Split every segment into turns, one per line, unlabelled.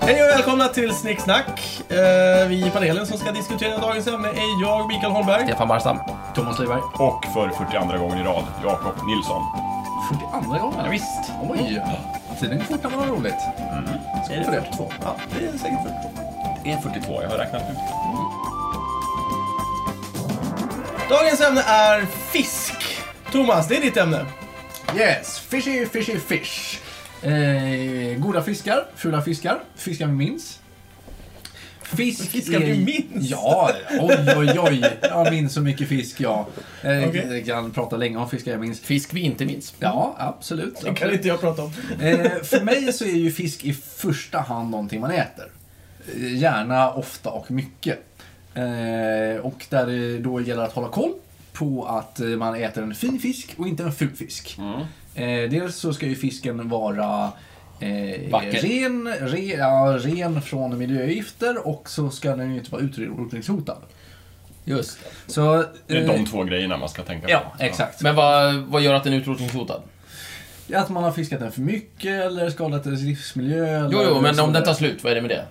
Hej och välkomna till Snicksnack. Eh, Vi i panelen som ska diskutera dagens ämne är jag, Mikael Holmberg.
Stefan Barstam.
Thomas Lyberg.
Och för 42 gången i rad, Jakob Nilsson.
42 gången? Ja, visst. Oj! Tiden går fort när man har roligt. Skål för det.
Ja, det är säkert för.
Det är 42, jag har räknat ut.
Dagens ämne är fisk. Thomas, det är ditt ämne.
Yes, fishy, fishy, fish. Eh, goda fiskar, fula fiskar, fiskar vi minns. Fisk
Fiskar vi minns?
Ja, oj, oj, oj. Jag minns så mycket fisk, ja. Eh,
Okej.
Jag kan prata länge om fiskar jag minns.
Fisk vi inte minns.
Ja, absolut.
Det kan
absolut.
inte jag prata om.
Eh, för mig så är ju fisk i första hand någonting man äter. Eh, Gärna ofta och mycket. Eh, och där det då gäller att hålla koll på att eh, man äter en fin fisk och inte en ful fisk.
Mm.
Eh, dels så ska ju fisken vara eh,
Vacker.
ren, re, ja, ren från miljögifter och så ska den ju inte vara utrotningshotad.
Just det.
Så,
Det är
eh,
de två grejerna man ska tänka på.
Ja, exakt.
Men vad, vad gör att den är utrotningshotad?
Att man har fiskat den för mycket eller skadat dess livsmiljö.
Jo,
eller
jo, men om
sådär.
den tar slut, vad är det med det?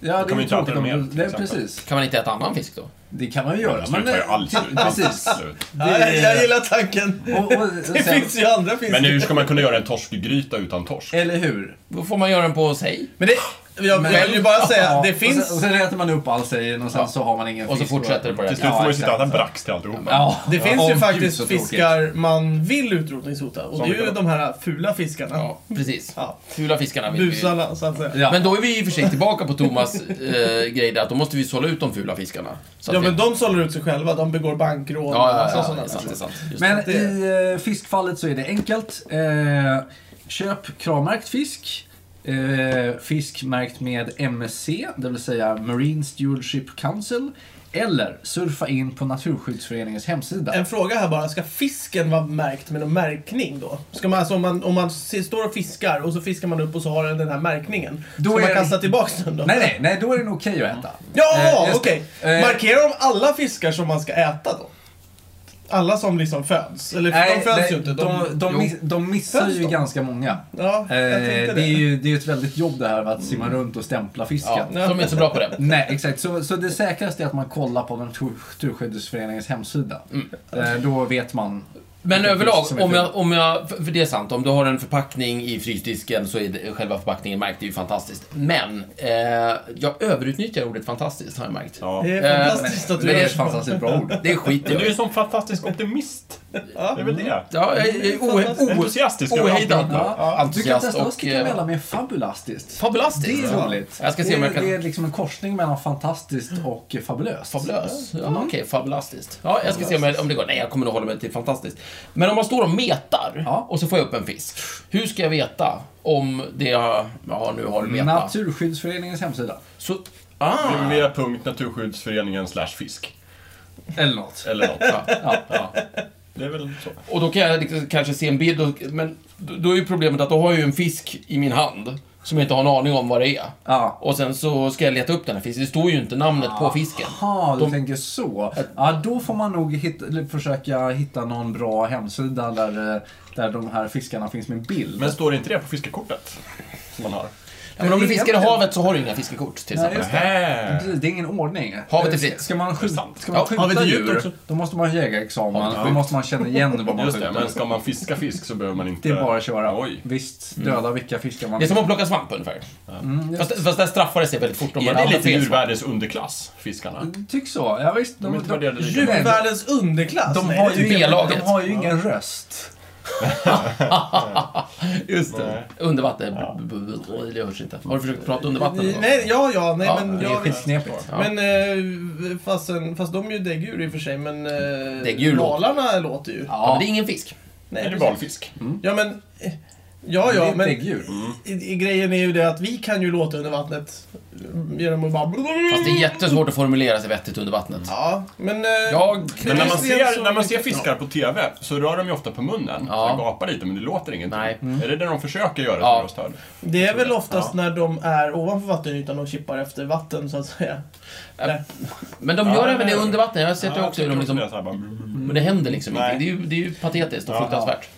Ja, det
kan
är ju
man ju inte
tråkigt
alltid
om
ha med,
det.
till
det
exempel.
precis.
Kan man inte äta annan fisk då?
Det kan man ju göra.
Det slutar ju alltid slut. Alltid
precis.
slut.
Nej, jag gillar tanken.
Och, och, och
Det
sen,
finns ju andra fisk.
Men hur ska man kunna göra en torskgryta utan torsk?
Eller hur?
Då får man göra den på sig.
Men det, jag
Men-
vill ju bara säga, det
Och sen, och
finns,
sen äter man upp all sägen och sen så har man ingen
Och så
fisk kvar.
fortsätter det på det.
Till slut får man ju sitta och äta
exakt.
brax till alltihopa.
Ja,
det finns
Åh,
ju
gud,
faktiskt
så tråkigt.
fiskar man vill utrotningshota. Och
Som
det är ju
vi-
de här fula fiskarna.
Ja, precis.
Ja.
Fula fiskarna vill vi
Busarna, så att säga.
Ja.
Men då är vi i och för sig tillbaka på Thomas eh, grej där, att då måste vi sålla ut de fula fiskarna. Så att
Ja,
vi-
men de sållar ut sig själva. De begår bankrån
ja, ja,
massa
ja,
sådana
det är sant, det är
saker.
sant. Just det.
Men
det-
i eh, fiskfallet så är det enkelt. Eh, köp kravmärkt fisk. Eh, fisk märkt med MSC, det vill säga Marine Stewardship Council. Eller surfa in på Naturskyddsföreningens hemsida.
En fråga här bara. Ska fisken vara märkt med någon märkning då? Ska man, alltså, om, man, om man se- står och fiskar och så fiskar man upp och så har den den här märkningen.
Då
ska
är
man
det-
kasta tillbaks den då?
Nej, nej, nej, då är den okej att äta.
Ja,
Eh, just-
okej.
eh,
Markerar de alla fiskar som man ska äta då? Alla som liksom föds? Eller de föds ju inte. De,
de, de,
Jo.
miss, de missar
Föds
ju
de?
ganska många.
ja,
Eh,
jag
det,
tänkte
är ju, det är ju ett väldigt jobb det här med att simma runt och stämpla
Mm. ja,
fisken.
så de är inte så bra på det.
Nej, exakt. Så, så det säkraste är att man kollar på Naturskyddsföreningens hemsida.
Mm.
Eh, då vet man.
Men
Vilken
överlag,
fisk som är
om
ful.
jag, om jag, för för det är sant, om du har en förpackning i frysdisken så är det, själva förpackningen märkt, det är ju fantastiskt. Men, eh, jag överutnyttjar ordet fantastiskt har jag märkt.
Ja.
Det
Men
är
Eh,
fantastiskt att
Det är
du
ett fantastiskt bra ord.
Det är skit jag
du är
gör.
ju som fantastisk optimist. Det är väl det.
Ja, jag är ohe- ohe-
Entusiastisk över
ohejdad.
allt.
Ja, du kan
Entusiast
testa att
och...
sticka
eh,
emellan med fabulastiskt. Det
Fabulastiskt.
är roligt.
Jag ska se om
det,
jag kan-
det är liksom en korsning mellan fantastiskt och fabulöst.
Fabulös. Ja,
Mm.
Okej, fabulastiskt. Ja, jag ska se om, jag, om det går. Nej, jag kommer nog hålla mig till fantastiskt. Men om man står och metar
Ja.
och så får jag upp en fisk. Hur ska jag veta om det jag... Ja, nu har du metat.
Naturskyddsföreningens hemsida.
Så... Ah!
Numera.naturskyddsföreningen slash fisk.
Eller något.
Eller något.
Ja, ja.
Det är väl så.
Och då kan jag liksom kanske se en bild, och, men då- då är ju problemet att då har jag ju en fisk i min hand som jag inte har en aning om vad det är.
Ja. Ah.
Och sen så ska jag leta upp den här fisken. Det står ju inte namnet på fisken.
Jaha, du tänker så. Ja, då får man nog hitta, eller försöka hitta någon bra hemsida där, eh, där de här fiskarna finns med bild.
Men står det inte det på fiskekortet? Som man har.
Ja, men om du
det är
fiskar i
egentligen-
havet så har du inga fiskekort till
Nej,
exempel.
just
Hä.
det. det är ingen ordning. Eh,
Havet är fritt.
Ska man, skjut, ska
Ja,
man
havet
skjuta
är djupt också.
djur, då måste man ha jägarexamen.
Havet är
Då måste man känna igen vad man
Just det, men
skjuter.
ska man fiska fisk så behöver man inte...
Det är bara att köra.
Oj.
Visst, döda vilka fiskar man
Det är som att plocka svamp ungefär. fast, fast där straffar det sig väldigt fort om
Är
man
det
hamnar
lite
fel svamp.
djurvärldens underklass, fiskarna?
Tycks så. Ja, visst.
De är inte värderade lika
de,
bra.
Djurvärldens underklass?
de,
Nej,
har
det
ju,
tycker jag
ingen-
inte.
de
B-laget.
har ju ingen röst.
Just det.
Nej.
Under vatten. B- b- b- Det hörs inte. Har du försökt prata under vatten? någon gång?
Nej, ja, ja, nej,
Ja,
men
Det är
jag,
skitknepigt.
Ja.
Men eh, fastän, fast de är ju däggdjur i och för sig, men eh,
Däggdjur låter.
valarna låter ju.
Ja, men det är ingen fisk.
Nej,
Är det
precis.
valfisk?
Ja, men... eh, Ja,
det är
ja,
ett
men Mm.
däggdjur.
i- i- grejen är ju det att vi kan ju låta under vattnet eh, genom att bara...
Fast det är jättesvårt att formulera sig vettigt under vattnet.
Ja, men... eh,
Jag...
Men när man,
Det är så
ser, när man
mycket-
ser fiskar på TV så rör de ju ofta på munnen.
Ja.
De gapar lite, men det låter ingenting.
Nej.
Är det det de försöker göra
Ja.
som rösthörd?
Det är väl oftast när de är ovanför vattenytan och kippar efter vatten, så att säga. Nej.
Äh, Men de gör
Ja,
även det
nej.
under vatten. Jag har sett det också. hur De liksom
så här bara...
Men det händer liksom
Nej.
ingenting. Det är ju, det är ju patetiskt och
Ja.
fruktansvärt.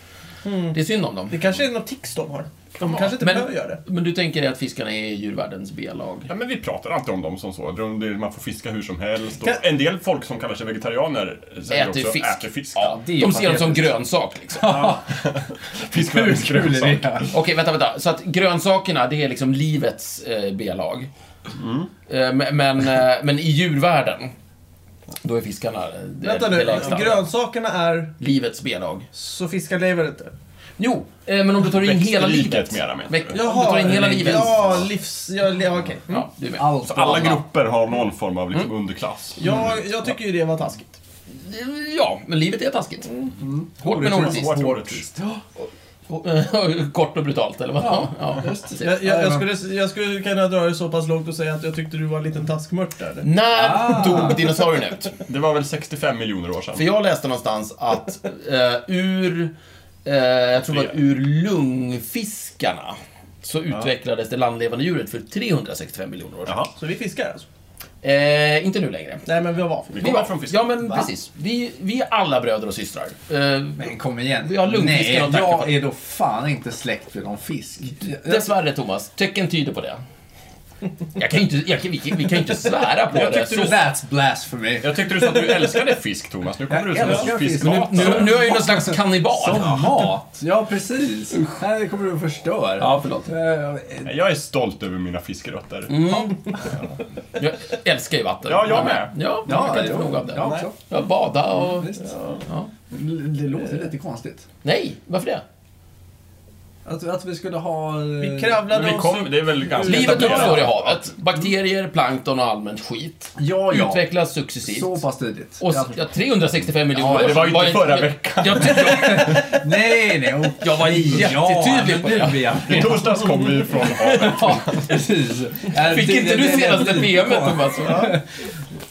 Det är synd om dem.
Det kanske är något tics de har. De kanske inte behöver göra det.
men du tänker dig att fiskarna är djurvärldens B-lag?
Ja, men vi pratar alltid om dem som så. De- det- Man får fiska hur som helst. Och
Kan-
en del folk som kallar sig vegetarianer säger
Äter
också
fisk.
äter fisk.
Ja,
det är
de ser dem
patetiskt.
som grönsak liksom.
fisk
Hur kul är
grönsak.
det?
Okej, vänta, vänta. Så att grönsakerna, det är liksom livets eh, B-lag. Eh, men- men, eh, men i djurvärlden, då är fiskarna eh, det,
Vänta
det
nu,
lägsta.
grönsakerna är
Livets B-lag.
så fiskar lever inte.
Jo, eh, men om du tar in
Växtriket
hela livet.
mera, menar
Väck-
du?
om du tar in hela livet.
Ja, livs... Ja, li- ja, okej. Mm.
Ja, du är med.
Allt
Så
och
alla
alla.
grupper har någon form av liksom underklass.
Jag, jag tycker ju det var taskigt.
Ja, men livet är taskigt. Hårt men orättvist.
Hårt orättvist.
Kort och brutalt, eller vad? Ja,
just
precis.
Jag, jag, jag, skulle, jag skulle kunna dra det så pass långt och säga att jag tyckte du var en liten taskmört där.
När
Ah.
dog dinosaurien ut?
Det var väl 65 miljoner år sedan.
För jag läste någonstans att eh, ur, eh, jag tror det var ur lungfiskarna, så utvecklades det landlevande djuret för 365 miljoner år sedan.
Jaha.
Så vi fiskar alltså?
Eh, inte nu längre.
Nej, men vi var
Vi
fiskar.
kommer från fisk.
Ja, men precis. Vi, vi är alla bröder och systrar. Eh,
Men kom igen.
Vi har lungfiskar
Nej,
att tacka
jag
för.
är då fan inte släkt med någon fisk.
dessvärre, Thomas, tecken tyder på det. Jag kan ju inte, jag kan, vi, kan- vi kan ju inte svära på det.
Så that's blasphemy.
Jag tyckte du sa att du älskade fisk, Thomas. Nu kommer
Jag
du som
älskar
en
fisk.
Nu,
fiskhatare.
nu är jag ju någon slags kannibal.
Som mat. Ja, precis. Nej, det kommer du att förstöra.
Ja, förlåt.
Eh,
Nej, Jag är stolt över mina fiskrötter.
Jag älskar ju vatten.
Ja, jag med.
Ja,
Ja,
jag kan inte
jo.
få nog av det.
Ja, också.
Jag bada och...
Visst.
Ja.
Det- Det låter lite konstigt.
Nej, varför det?
Att, att vi skulle ha... eh,
Vi
Men vi
kravlade oss...
kom, det är väl ganska
Livet
etablerat.
uppstår i havet. Bakterier, plankton och allmänt skit.
Ja, ja.
Utvecklas successivt.
Så pass tidigt.
Och s-
Jag-
ja, 365 miljoner
Ja, det
år
var
sedan
ju inte förra
jag-
veckan.
Jag, jag,
Nej, nej. okej.
Jag var jättetydlig på det.
Ja, men nu är jag
I torsdags kom vi från havet.
Precis. Äh,
fick
det-
inte
det-
du
det-
senaste
det-
PMet Thomas?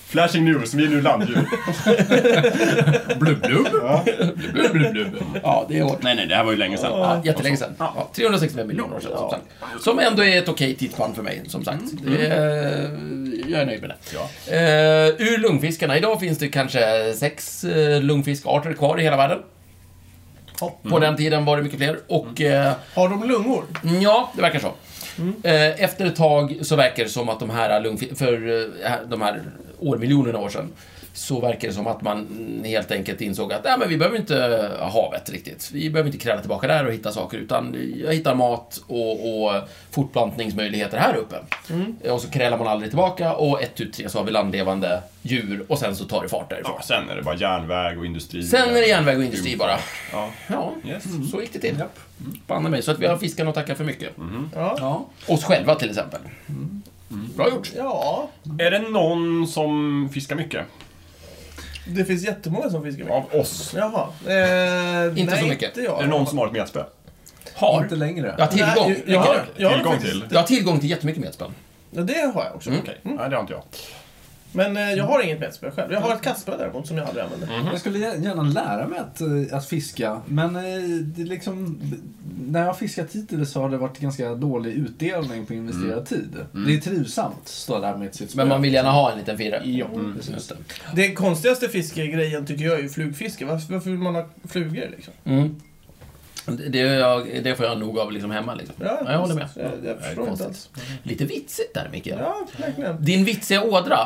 Flashing news, vi är nu landdjur.
Blubb, blubb. Blubb, blubb, blubb.
Ja, det är hårt.
Nej, nej, det här var ju länge sedan.
Ja, jättelänge sedan. Ja, 365 miljoner år sedan, som sagt. Som ändå är ett okej tidsspann för mig, som sagt. Det är- jag är nöjd med det. Eh, ur lungfiskarna. Idag finns det kanske sex eh, lungfiskarter kvar i hela världen. På den tiden var det mycket fler. Och eh,
Har de lungor?
ja, det verkar så. Eh, efter ett tag så verkar det som att de här lungfi- för eh, de här årmiljonerna år sedan så verkar det som att man helt enkelt insåg att Nej, men vi behöver inte havet riktigt. Vi behöver inte kräla tillbaka där och hitta saker, utan jag hittar mat och, och fortplantningsmöjligheter här uppe. Eh, Och så krälar man aldrig tillbaka och ett, tu, tre så har vi landlevande djur och sen så tar det fart därifrån.
Ja, sen är det bara järnväg och industri.
Sen är det järnväg och industri bara.
Ja.
Ja,
Yes. Mm.
så gick det till. Banne mig, så att vi har fiskarna att tacka för mycket.
Ja.
Ja.
Oss själva till exempel. Bra gjort.
Ja,
Är det någon som fiskar mycket?
det finns jättemånga som fiskar mycket.
Av oss?
Jaha. Eh,
Inte
nej,
så mycket.
Inte jag.
Är det någon som har ett metspö?
Har.
Inte längre.
Jag har tillgång.
Nej, jag, jag, jag,
Tillgång
faktiskt-
till?
Jag har tillgång till jättemycket metspön.
Ja, det har jag också.
Mm.
Okej, nej det har inte jag.
Men eh, jag har inget metspö själv. Jag har ett kastspö däremot som jag aldrig använder.
Mhm.
Jag skulle gär- gärna lära mig att, eh, att fiska, men eh, det är liksom, när jag har fiskat hittills så har det varit ganska dålig utdelning på investerad tid. Det är trivsamt att stå där med sitt spö.
Mm. Men man Mm, vill gärna ha en liten firre.
Ja, precis.
Det konstigaste fiskegrejen tycker jag är ju flugfiske. Varför, varför vill man ha flugor liksom?
Mm. Det, det, är jag, det får jag nog av liksom hemma. Liksom. Ja, jag håller med.
Jag, jag
är
förstår inte
konstigt.
alls.
Lite vitsigt där, Mikael.
Ja, verkligen.
Din vitsiga ådra.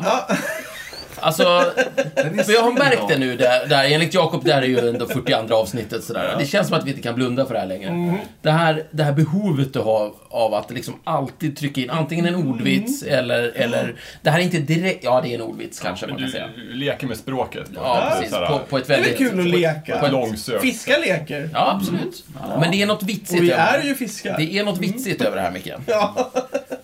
Alltså,
Den är
för jag har
stel
märkt
då.
det nu, där, där, enligt Jakob, det här är ju ändå 42 avsnittet sådär. Det känns som att vi inte kan blunda för det här längre.
Mm.
Det, här, det här behovet du har av att liksom alltid trycka in antingen en ordvits
Mm.
eller, eller... Det här är inte direkt... Ja, det är en ordvits kanske man
Men
kan säga.
du leker med språket. på ett-
Ja, precis.
så här-
På, på ett
Det är
väldigt...
väl kul att leka?
på ett långsökt.
Fiska leker.
Ja, absolut. Men det är något vitsigt
Och vi
över
är ju
det.
Mm. fiskar.
Det är något vitsigt över det här, Micke.
Ja,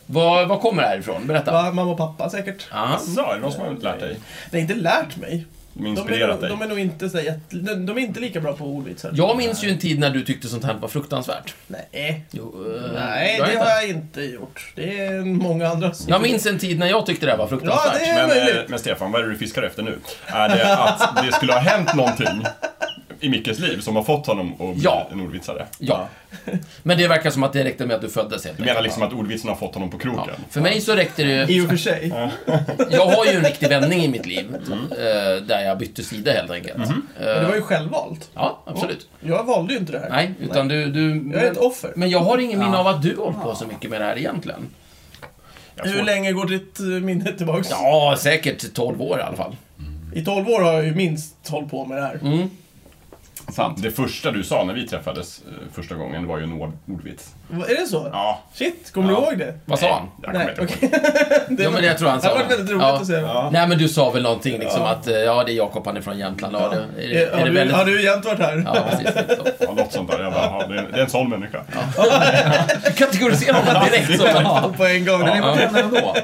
Vad, vad kommer det här ifrån? Berätta.
va, mamma och pappa säkert.
Ja.
Så, är det någon som har lärt dig?
Det har inte lärt mig.
De har
De är,
inspirerat
nog-
dig?
de är nog inte så jätte, de, de är inte lika bra på ordvitsar.
Jag minns ju en tid när du tyckte sånt här var fruktansvärt.
Nej,
Jo, eh,
nej
jag
det
vet
har
inte.
jag inte gjort. Det är många andra som...
Jag minns en tid när jag tyckte det här var fruktansvärt.
Ja, det är
Men, eh,
möjligt.
men Stefan, vad är det du fiskar efter nu? Är det att det skulle ha hänt någonting? i Mickes liv som har fått honom att bli
Ja.
en ordvitsare.
Ja. Men det verkar som att det räckte med att du föddes helt
Du menar liksom att ordvitsen har fått honom på kroken?
Ja. För mig så räckte det...
I och för sig.
Jag har ju en riktig vändning i mitt liv. eh, Där jag bytte sida helt enkelt.
Mm-hmm.
Eh,
Men det var ju självvalt.
Ja, absolut.
Jag valde ju inte det här.
Nej, utan du... du
Jag är ett offer.
Men jag har ingen minne av att du har hållit på så mycket med det här egentligen.
Jag
Hur
får-
länge går ditt eh, minne tillbaks?
Ja, säkert 12 år i alla fall.
I 12 år har jag ju minst hållit på med det här.
Mm.
Sant. Det första du sa när vi träffades eh, första gången var ju en ord- ordvits.
Är det så?
Ja.
Shit, kommer
Ja.
du ihåg det?
Vad sa han?
Jag kommer
Nej,
inte ihåg.
Det
Ja,
var-
men jag tror han sa
Det var
det.
väldigt roligt
Ja.
att se.
Ja.
Nej, men du sa väl någonting liksom att eh, ja, det är Jakob, han är från Jämtland. Ja, det, är, det-
Eh,
är
Har,
det
du,
väldigt...
har du jämt varit här?
Ja, precis. Så.
Ja, något sånt där. Jag bara, "Jaha, det är, det är en sån människa.
Du kategoriserar honom direkt som...
Alltså, På en gång.
Men det var
Ja.
jämnare ändå.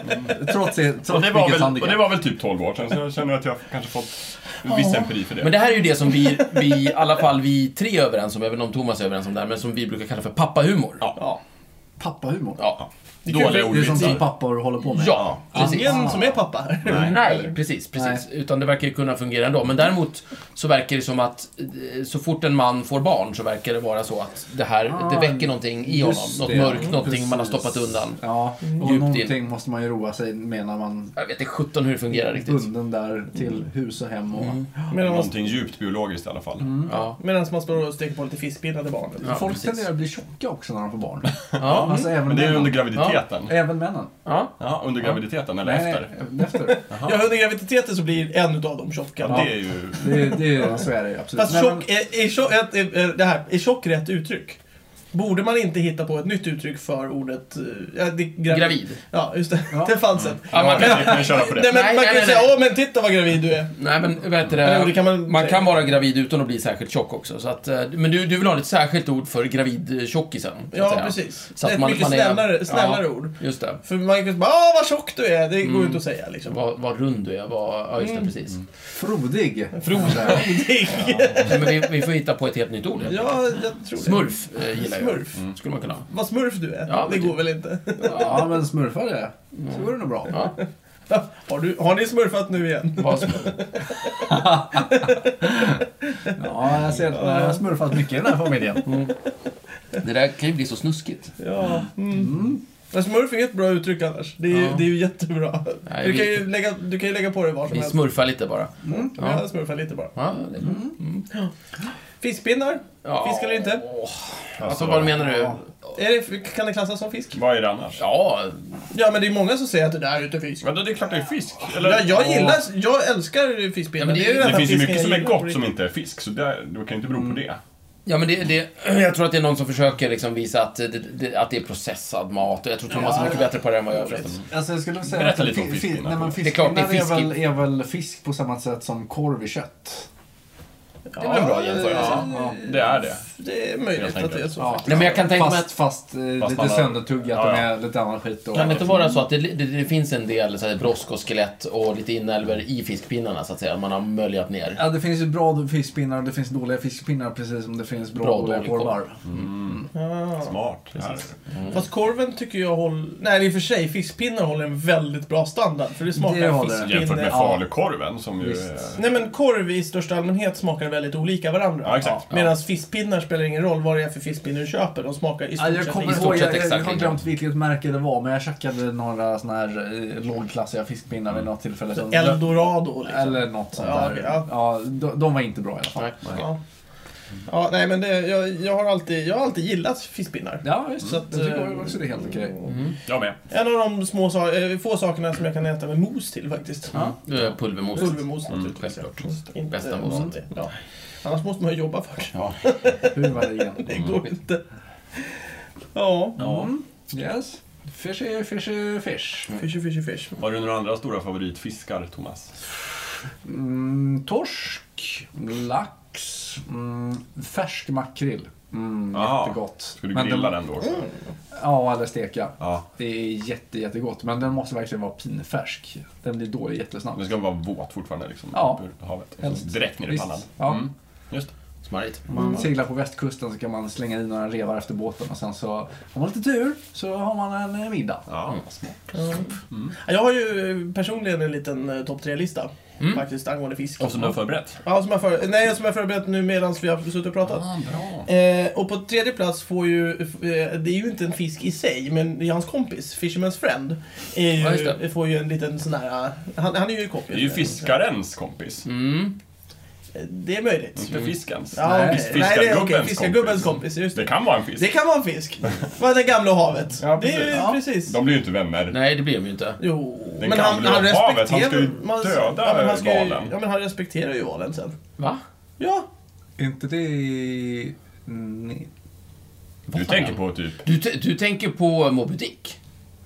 Trots, trots
Och det, var
Mickes
väl,
handikapp.
och det var väl typ 12 år sedan, så jag känner att jag kanske fått viss empiri för det.
Men det här är ju det som vi, vi i alla fall vi tre är överens om, även om Thomas är överens om det här, men som vi brukar kalla för pappahumor. Ja.
Ja.
Pappahumor.
ja.
är kul, det
Dåliga
är
Det är
ordvitsar.
sånt som pappor håller på med.
Ja, precis.
Ingen som är pappa här.
Nej, precis. precis. Utan det verkar ju kunna fungera ändå. Men däremot så verkar det som att eh, så fort en man får barn så verkar det vara så att det här, det väcker någonting i honom.
Just
Något
det.
mörkt, någonting man har
Precis.
stoppat undan.
Ja, och
Djupt in.
någonting måste man ju roa sig med när man
Jag vet inte sjutton hur det fungerar
är
riktigt. Mm.
bunden där till hus och hem. Och...
Medan man,
Någonting djupt biologiskt i alla fall.
Ja.
medan man står och steker på lite fiskpinnar till barnet.
Ja,
Folk
precis.
tenderar att bli tjocka också när de får barn.
Ja.
Alltså även
Men det är ju
männen.
under graviditeten.
Även männen.
ja.
Ja, under graviditeten eller
Nej,
efter.
även efter.
Ja, under graviditeten så blir en utav dem tjock. i alla fall.
Det är ju...
Det, det, är- så är det ju, absolut.
Fast
Nej, men-
tjock, eh, är, är, tjock, är, är, är, det här, är tjock rätt uttryck? Borde man inte hitta på ett nytt uttryck för ordet... eh, Ja, det, gravid.
Gravid.
Ja, just det.
Ja.
Det fanns ett.
Ja, man kan,
Vi kan ju köra på det.
Nej, men
Nej,
man kan
nej,
ju
nej,
säga
nej.
åh men titta vad gravid du är.
nej men vet du,
Eller,
det,
det kan man-
man kan vara gravid utan att bli särskilt tjock också. Så att, eh, men du, du vill ha ett särskilt ord för gravidtjockisen? så att
Ja,
säga.
precis.
Så att
ett
man-
mycket
man är-
snällare, snällare
Ja.
ord.
Just det.
För man kan ju bara åh vad tjock du är, det går ju inte att säga liksom.
Vad, vad rund du är, vad, ja just det,
Mm.
precis.
Frodig.
Frodig.
Nej, men vi, vi får hitta på ett helt nytt ord. helt enkelt.
Ja, jag tror det.
Smurf eh, gillar jag.
Smurf.
Skulle man kunna ha.
Vad smurf du är.
Ja,
det
men-
går väl inte?
Ja, men smurfar det. Så går det nog bra.
Ja,
Har, du, har ni smurfat nu igen?
vad smurf.
Ja, jag ser att man har smurfat mycket i den här familjen.
Det där kan ju bli så snuskigt.
Ja. Mm. Men smurf är ju ett bra uttryck annars. Det är ju,
Ja.
det är ju jättebra.
Nej,
du,
vi-
kan ju lägga, du kan ju lägga på det var som
Vi
helst.
smurfar lite bara.
Ja. Jag smurfar lite bara.
Ja, det,
Fiskpinnar?
ja.
Fisk eller Mm. inte?
Alltså, vad menar du?
Är det, kan det klassas som fisk?
Vad är det annars?
Ja,
Ja, men det är många som säger att det där är inte fisk.
Ja, det är klart det är fisk. Eller?
Ja, jag gillar, jag älskar fiskpinnar.
Ja, men det-
ju den
Det
här
finns ju
fisken
mycket
jag
som är
gillar på
gott
riktigt.
som inte är fisk, så det, det kan ju inte bero
Mm.
på det.
ja men det, det, jag tror att det är någon som försöker liksom visa att det, det, att det är processad mat. Och jag tror Thomas är mycket bättre på det än vad jag är. förresten.
Alltså jag skulle säga
Berätta
att
lite om
fi-
fiskpinnar.
fi- nej, men
är klart det är
fiskpinnar är,
fisk i-
väl, är väl fisk på samma sätt som korv i kött.
Ja,
Det är väl en bra jämförelse.
Ja.
Det är det.
Det är möjligt
Helt
att
enkelt.
det är så.
Ja.
faktiskt.
Nej, men jag kan tänka mig
Fast,
att-
fast, eh,
Fast
lite
man har-
söndertuggat
Ja, ja.
och med lite annan skit. Och,
Kan det inte vara så att det, det, det finns en del så här, brosk och skelett och lite inälvor i fiskpinnarna så att säga? Man har möljat ner.
Ja, det finns ju bra fiskpinnar och det finns dåliga fiskpinnar precis som det finns bra,
Bra
och dåliga
dålig korv.
korvar.
Ja.
Smart. Det här.
Mm. Fast korven tycker jag håller... Nej, i och för sig. Fiskpinnar håller en väldigt bra standard. För det smakar
Det håller den.
Jämfört
fiskpinne.
med falukorven som ju
Visst.
är...
Nej, men korv i största allmänhet smakar väldigt olika varandra.
Ja, exakt.
Medan fiskpinnar spelar ingen roll vad det är för fiskpinne du köper. De smakar i
Ja,
stort
jag
sett
kommer
lika.
ihåg, jag,
sett
jag, jag
exakt
har
lika.
glömt vilket märke det var, men jag käkade några såna här eh, lågklassiga fiskpinnar vid något tillfälle. Som,
Eldorado Mm. liksom.
eller något sånt
Ja,
där.
okej, ja.
de, de var inte bra i alla fall.
Nej.
Ja. ja, nej men det, jag, jag, har alltid, jag har alltid gillat fiskpinnar.
Ja, just
Så
det.
att,
Jag tycker
eh,
också det är helt okej.
Jag med.
En av de små, sa- eh, få sakerna som jag kan äta med mos till faktiskt.
Eh, Pulvermos.
Pulvermos
Mm,
naturligtvis.
självklart.
ja. Inte
Bästa
något
moset.
annat. Ja. Annars måste man ju jobba för det.
Ja.
Hur var det igen?
Det går
Mm.
inte. Ja.
Mm. Yes. Fish är fish är fish.
Fish, fish, fish.
Har du några andra stora favoritfiskar, Thomas?
Mm, torsk, lax, mm, färsk makrill. Mm,
Aha.
jättegott.
Ah, Ska du
Men
grilla den då också?
Mm.
Ja, eller steka.
Ja.
Det är jätte, jättegott, men den måste verkligen vara pinfärsk. Den blir dålig jättesnabbt.
Den ska vara våt fortfarande liksom.
Ja.
upp ur Havet. Och så
Helst.
Direkt ner i
Visst.
pannan.
Ja.
Mm. Just det.
Smarrigt.
Om man seglar på västkusten så kan man slänga i några revar efter båten och sen så har man lite tur så har man en eh, middag.
Ja.
Mm.
Mm.
Jag har ju personligen en liten eh, topp tre-lista. Faktiskt, angående fisk.
Mm. Och som du har förberett.
Ja, som jag, för... Nej, som jag förberett nu medan vi har suttit och pratat.
Ah,
bra.
Eh, och på tredje plats får ju, eh, det är ju inte en fisk i sig, men det är hans kompis, Fisherman's Friend, är
Ja,
ju,
just det.
får ju en liten sån här, eh, han, han är ju kompis.
Det är ju fiskarens kompis.
Mm.
Eh, Det är möjligt.
Inte fiskens.
Ja,
Nej,
okej.
Fis-
Nej, det är okej.
Mm. fiskargubbens
Fiskargubbens
kompis.
kompis, just
Det
det.
kan vara en fisk.
Det kan vara en fisk. Vad det gamla och havet.
Ja,
det är ju
precis.
ja. precis.
De blir ju inte vänner.
Nej, det blir de ju inte.
Jo,
Den gamla och havet, han ska ju
man-
döda
ja, men han ska ju,
valen.
Ja, men han respekterar ju valen sen.
Va?
Ja.
Är inte det... Nej.
Du tänker på typ...
Du, t- du tänker på Moby Dick.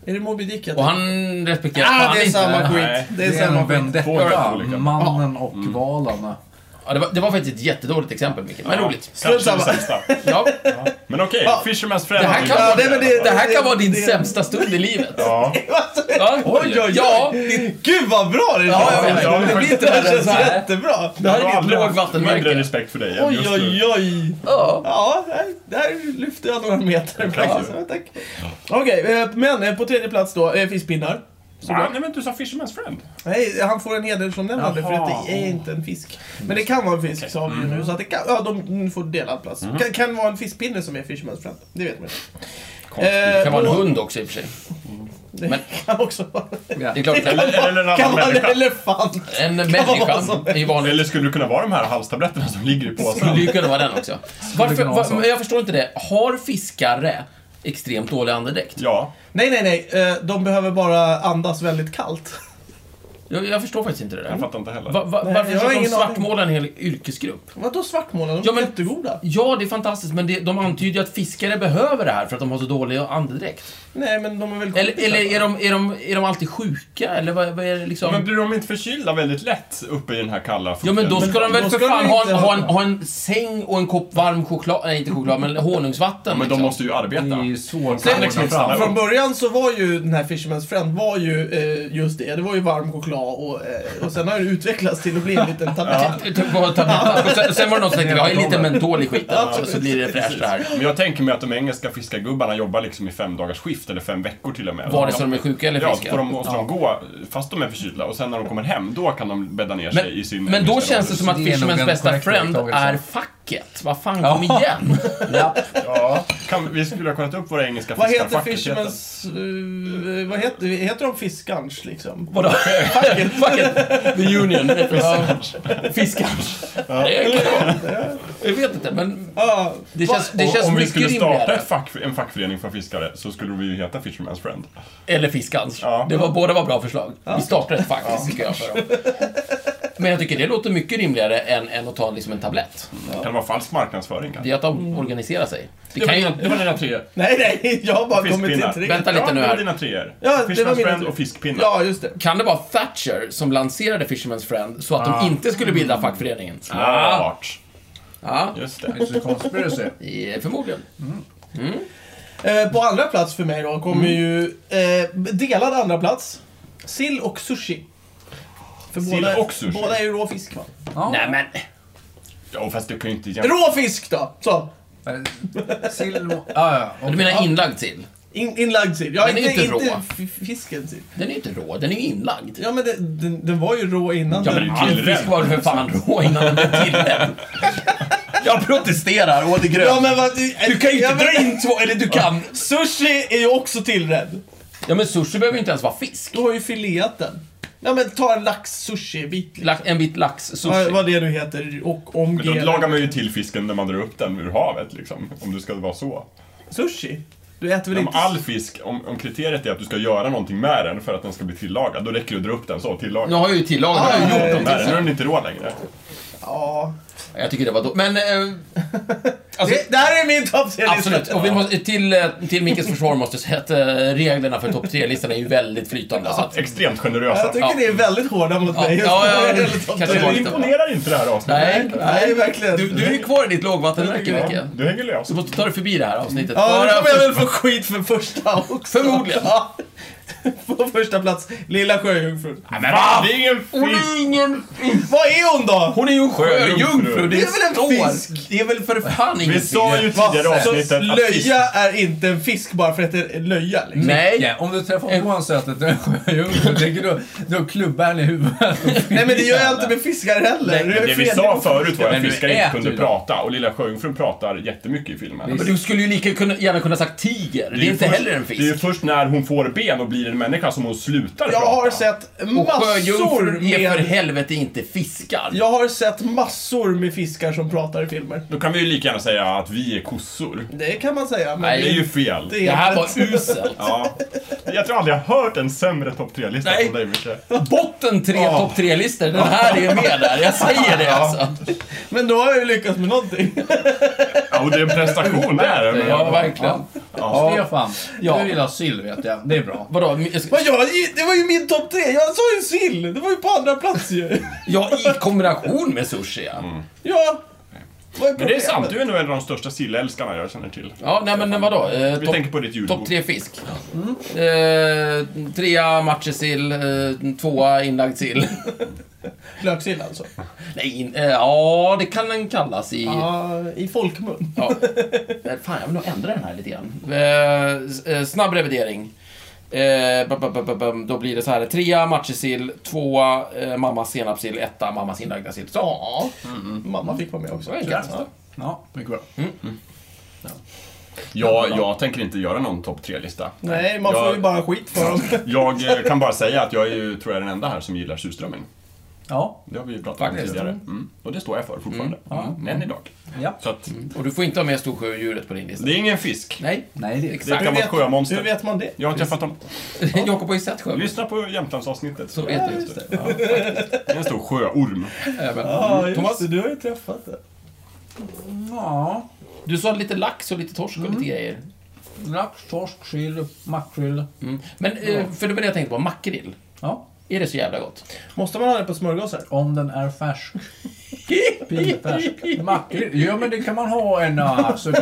Är det Moby Dick jag
Och
tänker?
han respekterar
Ah,
fan
det är
inte-
samma
Nej,
skit. Det är
Det är
samma
en
skit.
Två helt
vendetta.
olika.
Mannen och valarna.
Ja, det, var, det var faktiskt ett jättedåligt exempel, Micke. Men roligt.
Kanske
Strunt
det
samma.
sämsta.
Ja,
Men okej,
Ja.
Fisherman's Friend.
det, här kan
Ja,
vara,
nej, men det-
det här kan vara din
det-
sämsta stund i livet.
Ja.
Ja,
Oj, oj, oj.
Ja,
Gud vad bra det
Ja, ja,
känns.
ja, ja.
Det blir inte
Det här
värre än så
känns
här.
jätte-
Jättebra.
det
Jag
här är
har
ditt
aldrig haft mindre
lågvattenmärke.
respekt för dig än
Oj,
just nu.
oj, oj.
Ja.
Ja, här- där lyfter jag några meter.
Tack.
Ja, så, tack. Okej, eh, men eh, på tredje plats då, eh, fiskpinnar.
Ah, nej men du sa Fisherman's Friend.
Nej, han får en hedersomnämnande för
Jaha.
att det är inte en fisk. Men det kan vara en fisk, sa vi ju nu. Så att det kan, ja, de får delad plats. Kan, kan vara en fiskpinne som är Fisherman's Friend. Det vet man inte. Eh,
Det kan vara en
och-
hund också i och för sig. men-
Det kan också vara...
Ja.
Det är klart,
Eller, eller en
Kan
annan
vara en
människa.
elefant.
en
vara
människa
som-
är ju vanlig.
Eller skulle det kunna vara de här halstabletterna som ligger i påsen?
Skulle ju kunna vara den också. Varför,
kunna vara
var,
så.
men jag förstår inte det. Har fiskare extremt dålig andedräkt?
Ja.
Nej, nej, nej. Eh, De behöver bara andas väldigt kallt.
Jag, jag förstår faktiskt inte det
Jag
där.
fattar inte heller.
Va, va,
Nej,
varför
jag har
försöker de
ingen aning.
svartmåla en hel yrkesgrupp?
Vadå svartmåla? De är
Ja, men-
jättegoda.
Ja, det är fantastiskt, men det, de antyder ju att fiskare behöver det här för att de har så dålig andedräkt.
Nej, men de är väl
Eller,
kompisar,
eller är,
va?
de, är, de, är de alltid sjuka? Eller vad, vad är det liksom?
Men blir de inte förkylda väldigt lätt uppe i den här kalla
Ja,
fukten?
men då ska de väl
då
för
ska de
fan
ju
ha en,
inte
ha, en,
ha-
ha en säng och en kopp varm choklad, nej inte choklad, men honungsvatten.
Ja, men de
liksom.
måste ju arbeta.
Det är ju svårt
Sen-
att komma fram.
Från början så var ju den här Fisherman's Friend var ju eh, just det. Det var ju varm choklad och, eh, och sen har det utvecklats till att bli en liten tablett.
T- t- bara ta bort- och sen- Sen var det någon som tänkte, vi har ju lite mentol i skiten,
Ja,
så blir det fräscht det här.
Men jag tänker mig att de engelska fiskargubbarna jobbar liksom i fem dagars skift eller fem veckor till och med.
Vare sig de är sjuka eller
Ja,
friska.
så får de, måste de gå fast de är förkylda och sen när de kommer hem, då kan de bädda ner sig i sin...
Men, men då
engelska
känns det som att
Det är nog
Fishermans
en
bästa
korrekt
friend
iakttagelse.
är facket. Vad fan, kom igen!
Ja.
Ja, kan, vi skulle ha kollat upp våra engelska
Vad
fiskar.
heter
Fuck it,
Fisherman's... eh, vad heter, heter de Fiskans liksom?
Vadå? Facket? The Union. Fiskars. Det kan vara. Jag vet inte, men
Ja,
det känns, det
Och
känns
om vi
mycket
skulle starta
rimligare.
ett fack, en fackförening för fiskare så skulle vi ju heta Fisherman's Friend.
Eller Fiskans.
Ja.
Det var, båda var bra förslag. Vi startar ett fack, tycker jag. För dem. Men jag tycker det låter mycket rimligare än, än att ta liksom en tablett.
Kan det vara falsk marknadsföring kanske?
Det är att de organiserar sig. Det kan ju...
var dina tre.
Nej, nej, jag har bara kommit
Fiskpinnar.
till tre.
Vänta lite
ja, det
nu
var
här.
dina treor.
Ja, det var mina
Fisherman's Friend
tre.
och fiskpinnar.
Ja, just det.
Kan det vara Thatcher som lanserade Fisherman's Friend så att de inte skulle bilda fackföreningen? Ah.
Smart.
Ja,
Just det.
It's a conspiracy.
i- förmodligen.
Eh, på andra plats för mig då kommer ju... Eh, delad andra plats. Sill och sushi. För
Sill
båda,
och sushi.
båda är ju rå fisk va?
Nej men,
Ja, fast du kan ju inte jämföra.
Rå fisk då! Så.
Eh, Sill... Ja, ja.
du
Och-
menar inlagd sill?
In, inlagd sill. Ja,
Den är
inte,
inte rå.
inte f- fisken sill.
Den är ju inte rå, den är ju inlagd.
Ja, men det, den, den var ju rå innan.
Ja,
den-
men
är ju
all
tillrädd.
fisk var för fan rå innan den blev tillrädd. Jag protesterar å det gröna.
ja, men vad...
Du kan ju
ja,
inte
men-
dra in två, eller du kan.
Sushi är ju också tillrädd.
Ja men sushi behöver ju inte ens vara fisk.
Du har ju fileat den. Ja, men ta en lax-sushi-bit.
La- En bit
Vad,
lax-sushi.
vad det nu heter. Och
Men då
omgera.
lagar man ju till fisken när man drar upp den ur havet liksom. Om du ska vara så.
Sushi? Du äter väl
Om
inte...
all fisk, om, om kriteriet är att du ska göra någonting med den för att den ska bli tillagad, då räcker det att dra upp den så, tillagad.
Nu har jag ju tillagat,
Ah,
nu har jag ju gjort
Med
dem till
den, nu är den inte rå längre.
Ja.
Jag tycker det var då. Men... Eh, alltså,
Det, det här är min topp tre
absolut. Och vi måste, till, eh, till Mickes försvar måste jag säga att eh, reglerna för topp 3-listan är ju väldigt flytande. Så att,
Extremt
Jag
generösa.
tycker
Ja.
ni är väldigt hårda mot
Ja,
mig.
ja,
När
ja,
det gäller
det
topp
kanske
tre.
var
Det
lite-
imponerar inte det här avsnittet.
nej,
Nej, verkligen.
Du, du är ju kvar i ditt lågvattenmärke, Micke.
Ja, du hänger lös.
Du måste ta dig förbi det här avsnittet.
Ja, nu
Bara
kommer jag
för-
väl få skit för första också.
Förmodligen.
Ja. På första plats, Lilla Sjöjungfrun.
Nej, men va? Det är ingen
Hon är
fisk!
ingen...
Vad är hon då?
Hon är ju en sjöjungfru,
Det
det
är väl en
står.
fisk?
Det är väl för fan ingen
Vi sa ju
fisk.
tidigare i
Så
avsnittet att fisk...
löja är inte en fisk bara för att det är löja. Liksom.
Nej.
Ja, om du träffar på en sötet en sjöjungfru, tänker du då klubbar han i huvudet?
Nej men det gör jag inte med fiskar heller.
Nej,
är
Det vi
fel.
sa förut var
Men
att
du
fiskar inte
äter ju
kunde
dem.
prata och Lilla Sjöjungfrun pratar jättemycket i filmen.
Men du skulle ju lika kunna, gärna kunna sagt tiger. Det är
ju
inte
först-
heller en
Det är ju
fisk.
först när hon får ben och blir en människa som hon slutar
Jag
prata.
har sett
Och
massor
sjöjungfrun är för
med...
helvete inte fiskar.
Jag har sett massor med fiskar som pratar i filmer.
Då kan vi ju lika gärna säga att vi är kossor.
Det kan man säga. Men
Nej,
Det är ju fel.
det
Det här var
inte-
uselt.
Ja. Jag tror aldrig jag har hört en sämre topp 3-lista
Nej.
från dig, Micke.
Botten tre
Ja.
topp tre-listor. Den här är med där. Jag säger det alltså.
Men då har jag ju lyckats med någonting.
Ja, och det är en prestation, det är det. men-
Ja, verkligen.
Ja. Stefan,
Ja.
du gillar sill vet jag. Det är bra.
Vadå?
Men jag, det var ju min topp tre. Jag sa ju sill. Det var ju på andra plats ju.
Ja, i kombination med sushi ja.
Ja. Vad är
Men det är
problemet?
sant, du är nog en av de största sillälskarna jag känner till.
Ja, nej men vadå? Eh,
Vi
topp-
tänker på ditt julbord.
Topp tre fisk. Eh, trea matjessill, eh, tvåa inlagd sill.
Löksill alltså.
Nej, in, eh, ja det kan den kallas i...
Ja, I folkmun.
Ja. Eh, Fan, jag vill nog ändra den här lite grann. Eh, s- eh, snabb revidering. Eh, ba- ba- ba- ba- bam. då blir det så här. Trea matjessill, tvåa eh, mammas senapssill, etta mammas inlagda sill. Så.
Ja. Mamma fick vara med också.
Det var en katt.
Ja, mycket bra.
Ja, jag tänker inte göra någon topp 3-lista.
Nej, man får
Jag-
ju bara skit för dem.
Jag eh, kan bara säga att jag är ju, tror jag, den enda här som gillar surströmming.
Ja,
Det har vi ju pratat om
Faktiskt.
tidigare. Mm. Och det står jag för fortfarande. Mm. Än idag.
ja.
Så att,
Och du får inte ha med storsjödjuret på din lista.
det är ingen fisk.
Nej,
Nej, det är
Det är ett Mm.
exakt.
Hur
gammalt
vet- Hur
sjömonster.
vet man det?
Jag har träffat dem.
Jakob har ju sett sjön.
Lyssna på Jämtlandsavsnittet.
Så vet du.
Det är en stor sjöorm.
Även.
Ja, just
Thomas,
det. Du har ju träffat det.
Ja,
du sa lite lax och lite torsk och lite grejer.
lax, torsk, sill, makrill.
Mm. Men, eh, för det var det jag tänkte på, makrill.
Ja,
Är det så jävla gott?
Måste man ha det på smörgåsar?
om den är färsk. Pinfärsk. Makrill. Ja, men det kan man ha en alltså du.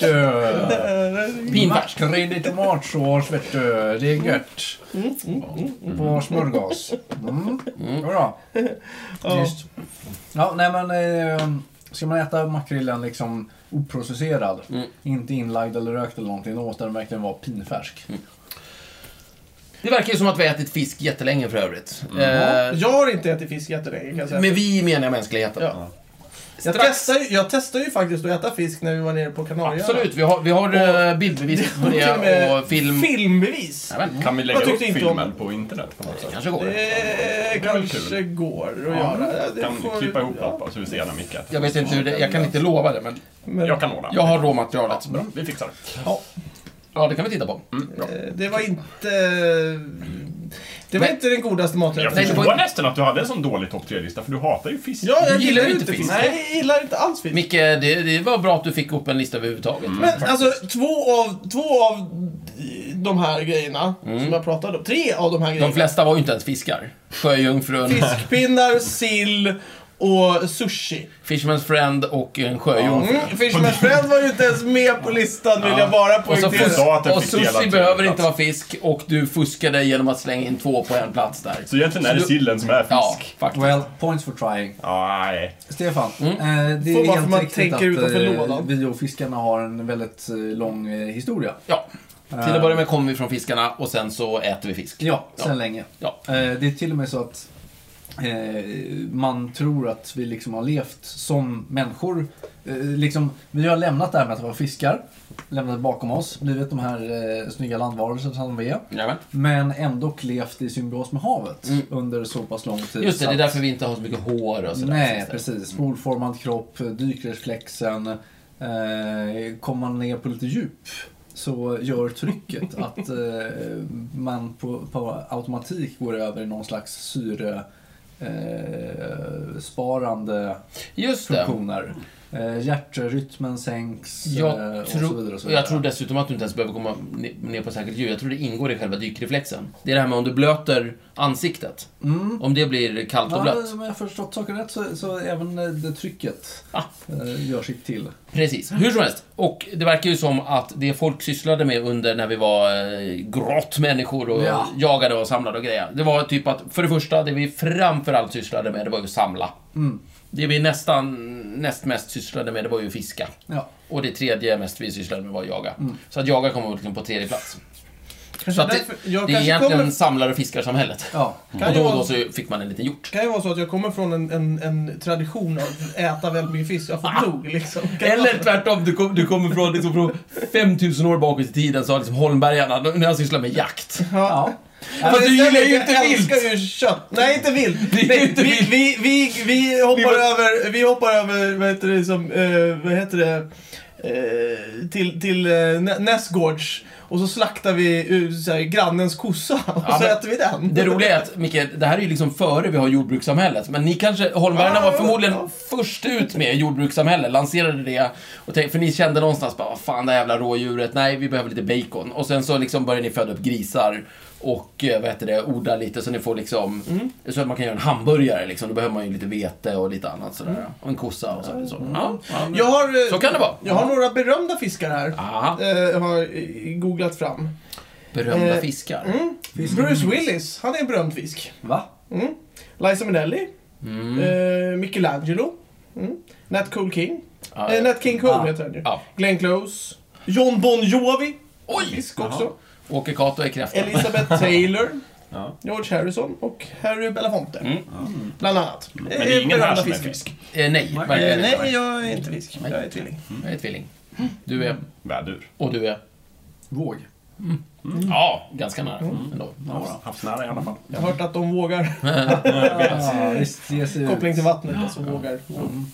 du.
Pinfärsk.
Makrill i tomatsås, vet du. Det är gött. På smörgås. Mm. Jodå. Just. Ja, nej men... Eh, ska man äta makrillen liksom oprocesserad, inte inlagd eller rökt eller någonting, då måste den verkligen vara pinfärsk.
Det verkar ju som att vi har ätit fisk jättelänge för övrigt.
Mm.
Eh,
Jag har inte ätit fisk jättelänge kan jag säga.
Med vi menar jag mänskligheten.
Ja. jag,
strax-
testar ju, jag testar ju faktiskt att äta fisk när vi var nere på Kanarieöarna.
Absolut, vi har, vi har eh, bildbevis på
Och till och
det
med
och film.
Filmbevis.
Jajamän.
Kan vi lägga
Jag
upp
tyckte inte om
filmen på internet på något sätt?
kanske går.
Det
väl
kanske
kul.
går att göra. Ja, det
Kan
får-
klippa ihop
ja.
allt så vi ser gärna Micke.
Jag vet inte hur det, jag kan inte lova det men
Men,
Jag kan ordna.
jag har råmaterialet.
Bra, vi fixar det.
ja,
Ja, det kan vi titta på.
Mm, bra.
eh, det var inte... Det var
Nej.
inte den godaste
Jag
maträtten.
Nej, det var-
förstår nästan att du hade en sån dålig topp 3-lista, för du hatar ju fisk.
Ja, jag
Du
gillar ju inte fisk.
Nej.
Nej, jag gillar inte alls fisk.
Micke, det, det var bra att du fick upp en lista överhuvudtaget.
Men alltså, två av, två av de här grejerna som jag pratade om. Tre av de här grejerna.
Mm. De flesta var ju inte ens fiskar. Sjöjungfrun,
Fiskpinnar, sill och sushi.
Fisherman's Friend och en sjöjungfru.
Mm, Fisherman's Friend var ju inte ens med på listan vill jag bara
Och, så
Jag
poängtera.
sa att den
och
fick dela
sushi
till
behöver
plats.
inte vara fisk och du fuskade genom att slänga in två på en plats där.
Så egentligen är det
Så du-
sillen som är
Ja,
fisk.
faktiskt.
Well, points for trying.
Ja. Nej.
Stefan,
Mm.
eh, det
Får man-
är
får
helt
man
riktigt
tänka utanför
att eh,
lådan?
vi och fiskarna har en väldigt eh, lång eh, historia.
Ja. Till
Eh.
att börja med kommer vi från fiskarna och sen så äter vi fisk.
Ja, sen länge.
Ja.
Eh, Det är till och med så att eh, man tror att vi liksom har levt som människor. Eh, Liksom, vi har lämnat det här med att vara fiskar, lämnat det bakom oss, blivit de här eh, snygga landvarelserna som vi är.
Jajamän.
Men ändå levt i symbios med havet under så pass lång tid.
Mm. Just det,
så
det är
att-
därför vi inte har så mycket hår och sådär. Mm.
Nej,
Så-
precis. Spolformad kropp, dykreflexen. Eh, kommer man ner på lite djup så gör trycket att eh, man på, på automatik går över i någon slags syre eh, sparande
Just det.
funktioner. Eh, hjärtrytmen sänks eh,
Jag,
och
tror-
så vidare. Och så
och
vidare.
jag tror dessutom att du inte ens behöver komma ne- ner på särskilt djup. Jag tror det ingår i själva dykreflexen. Det är det här med om du blöter ansiktet.
Mm.
Om det blir kallt och
Ja,
blött.
men om jag har förstått saken rätt så, så även eh, det trycket
Ah.
eh, gör sitt till.
Precis. Hur som helst. Och det verkar ju som att det folk sysslade med under när vi var eh, grottmänniskor och
Ja.
jagade och samlade och grejer. Det var typ att, för det första, det vi framförallt sysslade med, det var ju att samla.
Mm.
Det vi nästan näst mest sysslade med, det var ju att fiska.
Ja.
Och det tredje mest vi sysslade med var att jaga.
Mm.
Så att jaga kommer verkligen på tredje plats. Så
Kanske
att det,
därför,
det
jag
är
kanske
egentligen
kommer,
samlar och fiskarsamhället.
Ja.
kan
Och
ju
då och
vara-
då så fick man en liten hjort.
kan ju vara så att jag kommer från en, en, en tradition av äta väldigt mycket fisk. Jag får nog liksom. Kan
Ah. Eller
vara-
tvärtom, du, kom, du kommer från, liksom, från 5000 år bakåt i tiden så har liksom holmbergarna, de- när jag sysslar med jakt.
ja.
Ja,
Fast
men
du
istället,
gillar ju
jag
inte vilt.
älskar ju kött. Nej, inte vilt.
Det är
Nej,
inte
vi,
vilt.
vi, vi, vi hoppar
Vi var-
över, vi hoppar över, vad heter det, som, eh, vad heter det, eh, till, till eh, Nä- Näsgårds. Och så slaktar vi eh, så här, grannens kossa och
Ja,
så
men-
äter vi den.
Det roliga är att, Micke, det här är ju liksom före vi har jordbrukssamhället. Men ni kanske, holmbergarna var förmodligen först ut med jordbrukssamhälle, lanserade det. Och tänk, för ni kände någonstans bara, vad fan det här jävla rådjuret, nej vi behöver lite bacon. Och sen så liksom började ni föda upp grisar och eh, vad heter det, odla lite så ni får liksom,
Mm.
så att man kan göra en hamburgare liksom. Då behöver man ju lite vete och lite annat sådär. Och en kossa och så. så.
Mm.
Ja, ja.
Jag har, eh,
Så kan det vara.
Jag har några berömda fiskar här.
Aha,
Eh, har eh, googlat fram.
Ah, berömda
Eh,
fiskar.
Mm. Bruce Willis, han är en berömd fisk.
Va?
Mm. Liza Minnelli. Eh, Michelangelo. Mm. Nat Cool King.
Ja,
Eh,
ja.
Nat King Cole
Ah.
heter han ju.
Ja.
Glenn Close. John Bon Jovi.
Oj!
Fisk också.
Åke Cato är kräftan.
Elizabeth Taylor.
Ja.
George Harrison och Harry Belafonte. Bland annat.
Men det är ingen här som är fisk.
Eh, nej,
Eh,
verkligen inte.
nej, jag är inte fisk. Jag är tvilling.
Jag är tvilling. Du är,
Vädur.
och du är.
Våg.
Ja, ganska nära ändå.
Ja,
Havsnära i alla fall.
Jag har hört att de vågar.
ja, visst, ge sig ut.
Koppling till vattnet. Alltså vågar.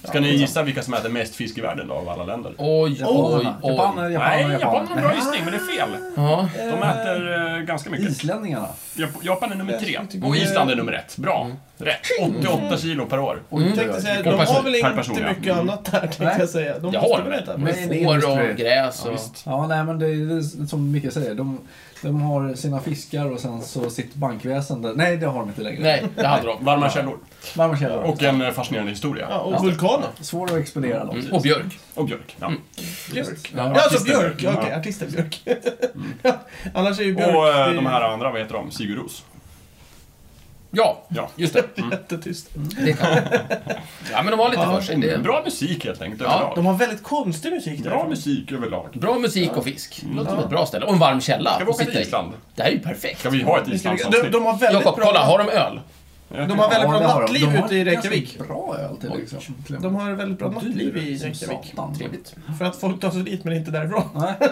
Ska ni gissa vilka som äter mest fisk i världen då, av alla länder?
Oj, oj, Mm.
Japanerna. Japaner,
oj.
japaner,
Nej, Japan har en
japaner.
bra gissning, men det är fel.
Ja.
De äter eh, ganska mycket.
Islänningarna.
Jap- Japan är nummer
Jag
tre
skulle tycka-
och Island är nummer ett. Bra.
Mm.
Rätt. 88 kilo per år.
Oj,
Jag
oj,
tänkte
oj.
säga,
Per
de har
person. Mm.
väl
Per
inte
person, ja.
mycket annat där, tänkte
Nej.
jag säga. De
Jag
måste
har
väl
det.
äta.
Men-
Med får och gräs och...
Ja, nej men det är det är som Micke säger. De, de har sina fiskar och sen så sitt bankväsende. Nej, det har de inte längre.
Nej, det hade de.
Varma källor.
Varma källor.
Och en eh, fascinerande historia.
Ja, och vulkaner.
Svår att expedera dem.
Mm, Och björk.
Och björk.
Mm.
Ja.
Björk.
Ja, Mm.
Ja, alltså
artister
Björk.
Björk.
Okej,
Ja.
artisten Björk. Annars är ju Björk...
Och
det
eh,
är
de här andra, vad heter de? Sigur Ros.
Ja,
Ja.
just det.
Jättetyst.
Det kan Ja, men de har lite för sig. Det är
Bra musik helt enkelt
Ja,
överlag.
De har väldigt konstig musik där.
Bra musik överlag.
bra musik och fisk. Det låter som ett bra ställe. Och en varm källa.
Ska vi åka
att sitta
till
i.
Island?
Det här är ju perfekt.
Ska vi ha ett
De,
Islandsavsnitt?
de har väldigt
Alltså, Jakob,
bra...
kolla. Har de öl?
De har väldigt
Ja,
bra
det har de.
nattliv
De har
ute i
ganska
Reykjavik.
Bra öl till liksom.
De har väldigt bra nattliv i
Som
Reykjavik.
satan.
Trevligt.
För att folk tar sig dit men inte därifrån.
Nej.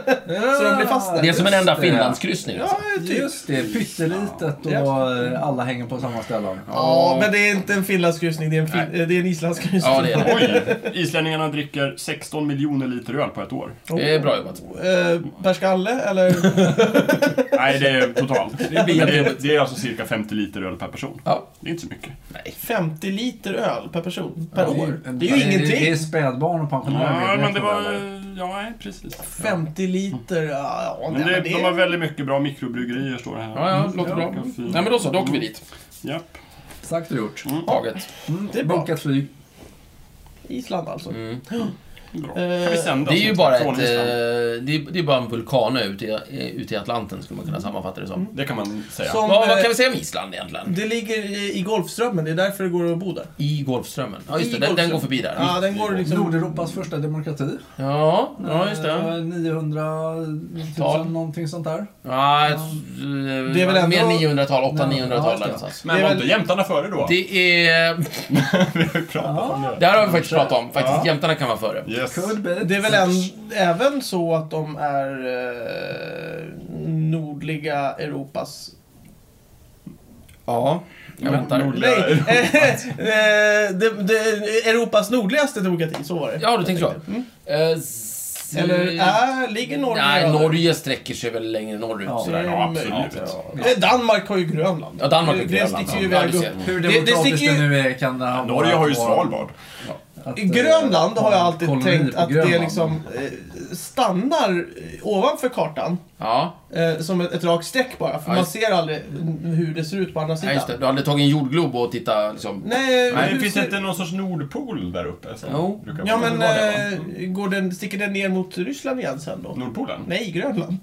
Så de blir fast där.
Det är som en enda
Just det.
finlandskryssning.
Ja,
Alltså.
typ.
Just det, pyttelitet och eh, alla hänger på samma ställen.
Ja, men det är inte en finlandskryssning, det är en, fin...
Nej.
eh, det är en islandskryssning.
Ja, det är det.
Oj! Islänningarna dricker 16 miljoner liter öl på ett år.
Det är bra jobbat.
Eh, per skalle, eller?
Nej, det är totalt. Det är,
helt
det, är alltså cirka 50 liter öl per person.
Ja.
Det är inte så mycket.
50 liter öl per person, per
Ja, det är
år.
en-
Det är ju
Det, det är
ingenting.
spädbarn och pensionärer
Ja, men det
medräknade,
var...
eller?
Ja, nej, precis.
50 liter, ja, ja
Men
nej,
det,
men det
de har väldigt mycket bra mikrobryggerier, står det här. Mm.
Ja,
Mm,
ja, låter bra.
Ganska fint.
Nej, men då så. Då åker vi dit.
Japp.
Sagt och gjort.
Taget.
Mm,
Det är bra.
Bokat flyg.
Island alltså.
Mm.
Bra. Kan vi sända
eh, Det är ju
avsnitt
bara ett,
från
eh,
Island?
det, är, det är bara en vulkan ute i, eh, ute i Atlanten, skulle man kunna sammanfatta det som.
Mm.
Det kan man säga.
Som,
Vad, vad
eh,
kan vi säga om Island egentligen?
Det ligger i i Golfströmmen, det är därför det går att bo där.
I Golfströmmen. Ja,
I
just det. Den, den
Golfströmmen.
går förbi där.
Ja, den
Mm.
går liksom...
Nordeuropas första demokrati.
Ja, ja just det.
Eh, 900 000
Tal.
någonting sånt där.
Ja, ett, eh,
Det är väl ändå-
mer 900-tal,
Ja,
800-900-tal
just det.
någonstans.
Men
det är
var
väl-
inte jämtarna före då?
Det är...
Vi har ju pratat om det.
Det här har vi faktiskt pratat om. Faktiskt, jämtarna kan vara före.
Yes.
Could be
Det är väl en, även så att de är eh, nordliga Europas...
Ja. Jag väntar.
Nordliga
Nej!
Europa.
eh, det, det, Europas nordligaste demokrati, så var det.
Ja, du tänker så.
Mm.
Eh, s-
Eller är, ligger Norge
Nej,
över?
Norge sträcker sig väl längre norrut.
Ja.
Det är
Sådär.
Ja, absolut.
möjligt, ja. Eh, Danmark har ju Grönland.
Ja, Danmark har
Det- Det
Grönland,
sticker ju iväg
ja. Ja,
upp.
det ser jag.
Hur
Det- det
demokratiskt
sticker
det,
ju-
nu är kan det ha
Norge har ju
varit.
Svalbard.
Att,
I Grönland har jag alltid
kolonier
tänkt
på
att det
Grönland.
liksom eh, stannar eh, ovanför kartan.
Ja,
Eh, som ett, ett rakt streck bara, för
Ja,
man
just-
ser aldrig hur det ser ut på andra
ja,
sidan.
just det. Du har aldrig tagit en jordglob och tittat liksom...
Nej,
Nej,
hur
finns
ser-
det inte någon sorts nordpol där uppe? Som
Jo.
brukar
Ja
vara-
men,
var det, va?
eh, går den, sticker den ner mot Ryssland igen sen då?
Nordpolen? Nej.
Nej, Grönland.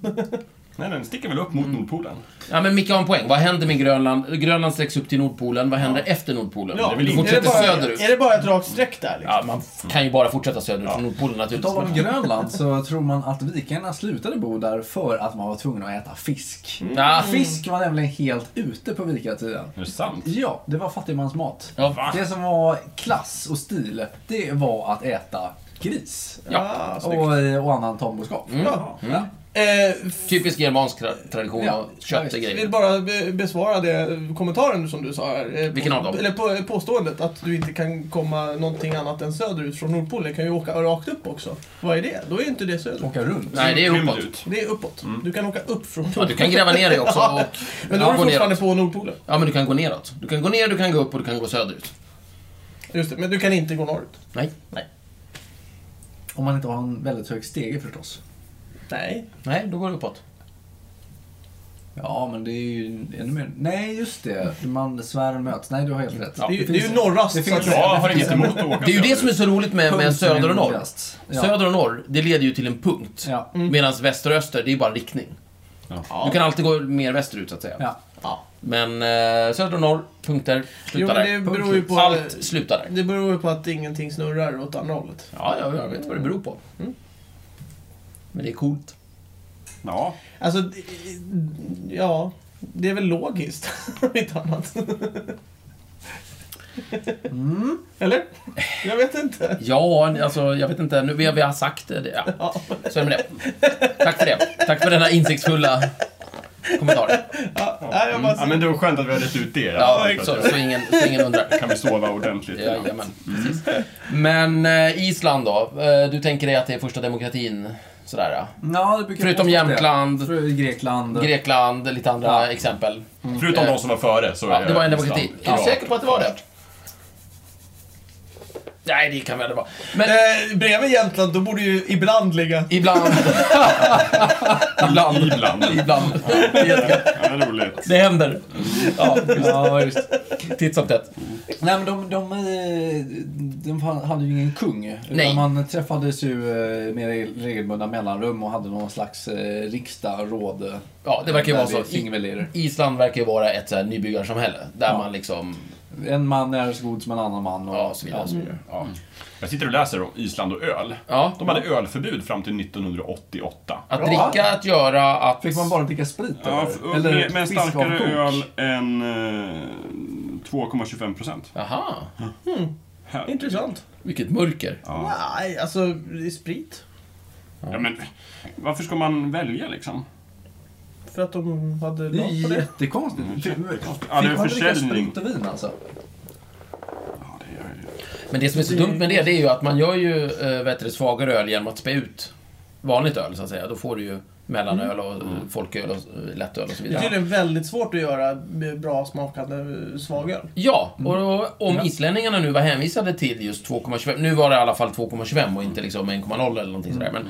den sticker väl upp mot
Mm.
Nordpolen?
Ja, men Micke har en poäng. Vad händer med Grönland? Grönland sträcks upp till Nordpolen. Vad händer efter Nordpolen?
Ja,
väl
du
inte-
fortsätter
bara,
söderut.
Är det bara ett rakt streck där liksom?
Ja, man f- kan ju bara fortsätta söderut från Nordpolen
På tal om
naturligtvis.
Grönland så tror man att vikingarna slutade bo där för att man var tvungen att äta fisk.
Ja,
Fisk var nämligen helt ute på vikingatiden.
Är det sant?
Ja, det var fattigmansmat.
Ja, va?
Det som var klass och stil, det var att äta gris.
Ja, Ah, snyggt. Mm.
och, eh, Mm. och annan tamboskap.
Ja.
Ja.
Eh, f-
Typisk germansk tra- tradition
Ja,
av kött och
visst.
vill
grejer.
bara be- besvara det eh, kommentaren som du sa här. eh,
Vilken av dem?
Eller på, påståendet att du inte kan komma någonting annat än söderut från Nordpolen. Du kan ju åka rakt upp också. Vad är det? Då är ju inte det
Mm.
söderut.
Åka runt.
Nej, det är
Rymd
uppåt.
ut.
Det är uppåt. Du kan åka upp från
Mm. Ja, du kan gräva ner dig också
Ja.
och
Men då
ja,
är du
gå
fortfarande
neråt.
på Nordpolen.
Ja, men du kan gå neråt. Du kan gå ner, du kan gå upp och du kan gå söderut.
Just det, men du kan inte gå norrut.
Nej. Nej,
Om man inte har en väldigt hög stege förstås.
Nej.
Nej då går det uppåt.
Ja, men det är ju ännu mer... Nej, just det. Man svären möts. Nej, du har helt rätt.
Ja.
Det är ju, det är
finns-
ju norrast
det
så att
finns-
säga.
Jag har inget emot att åka
Det är ju det som är så roligt med, med
Punkt som
söder
är
och norr.
nordligast. Ja.
Söder och norr, det leder ju till en punkt.
Ja. Mm.
Medan väster och öster, det är bara riktning.
Ja.
Du kan alltid gå mer västerut, så att säga.
Ja.
Ja.
Men eh, söder och norr, punkter,
Jo,
slutar
men det
där.
beror ju på...
Allt slutar där.
Det beror ju på att ingenting snurrar åt andra hållet.
Ja, jag, jag vet vad det beror på. Mm. Men det är coolt.
Ja.
Alltså, det- ja. Det är väl logiskt, om inte annat.
Mm.
Eller? Jag vet inte.
Ja, alltså jag vet inte. Nu, vi, har, vi har sagt det. det- Ja.
Ja,
Så är det med det. Tack för det. Tack för denna insiktsfulla kommentar.
ja, nej, jag bara...
ja, men det var skönt att vi har rätt ut det.
Ja, så, så, ingen, så ingen undrar.
Kan vi sova ordentligt? i natt?
Jajamän, precis. Men eh, Island då? Eh, du tänker dig att det är första demokratin? Sådär, ja.
Ja, det brukar
Förutom
vara så att
Jämtland.
det- För Grekland.
Grekland, lite andra
Ja.
exempel.
Förutom
Eh,
de som var före så
Ja,
är
det var en
Island
demokrati. Är
klart
du säker på att det var det?
först.
Nej, det kan väl det vara. Men
Eh, bredvid Jämtland, då borde ju ibland ligga...
ibland... ibland.
Ibland.
Ibland. Det är jättekul.
Ja, det är roligt.
Det händer. Ja,
Ja, just.
titt som tätt.
Nej, men de, de, eh, de hade ju ingen kung. Utan
Nej.
Man träffades ju eh, med re- regelbundna mellanrum och hade någon slags eh, riksdag, råd. eh,
Ja, det verkar ju
där
vara
vi
så.
fingervärderar.
Island verkar ju vara ett så här nybyggarsamhälle. Där
Ja.
man liksom...
En man är så god som en annan man. Och,
Ja, och så vidare. och så vidare.
Ja. Jag sitter och läser om Island och öl.
Ja.
De hade ölförbud fram till 1988.
Att
Bra.
dricka, att göra, att...
Fick man bara dricka sprit
Ja, f-
eller?
med, med en
fisk av
starkare
kok?
öl än eh, 2,25 procent.
Aha,
Intressant.
vilket mörker.
Ja.
Nej, alltså, det är sprit.
Ja, men, varför ska man välja liksom?
För att de hade
Det är
lag på
ju
det.
jättekonstigt. Fick,
Mm. Ja, det är
fick man dricka
försäljning.
sprit och vin alltså?
Ja, det gör jag ju.
Men det som är så dumt med det, det är ju att man gör ju äh, vet du, svagare öl genom att spä ut vanligt öl, så att säga. Då får du ju mellanöl och
Mm.
eh, folköl och eh, lättöl och så
Det är
vidare.
tydligen väldigt svårt att göra bra smakande svagöl.
Ja, och då, om islänningarna nu var hänvisade till just 2,25, nu var det i alla fall 2,25 och inte liksom 1,0 eller någonting sådär, men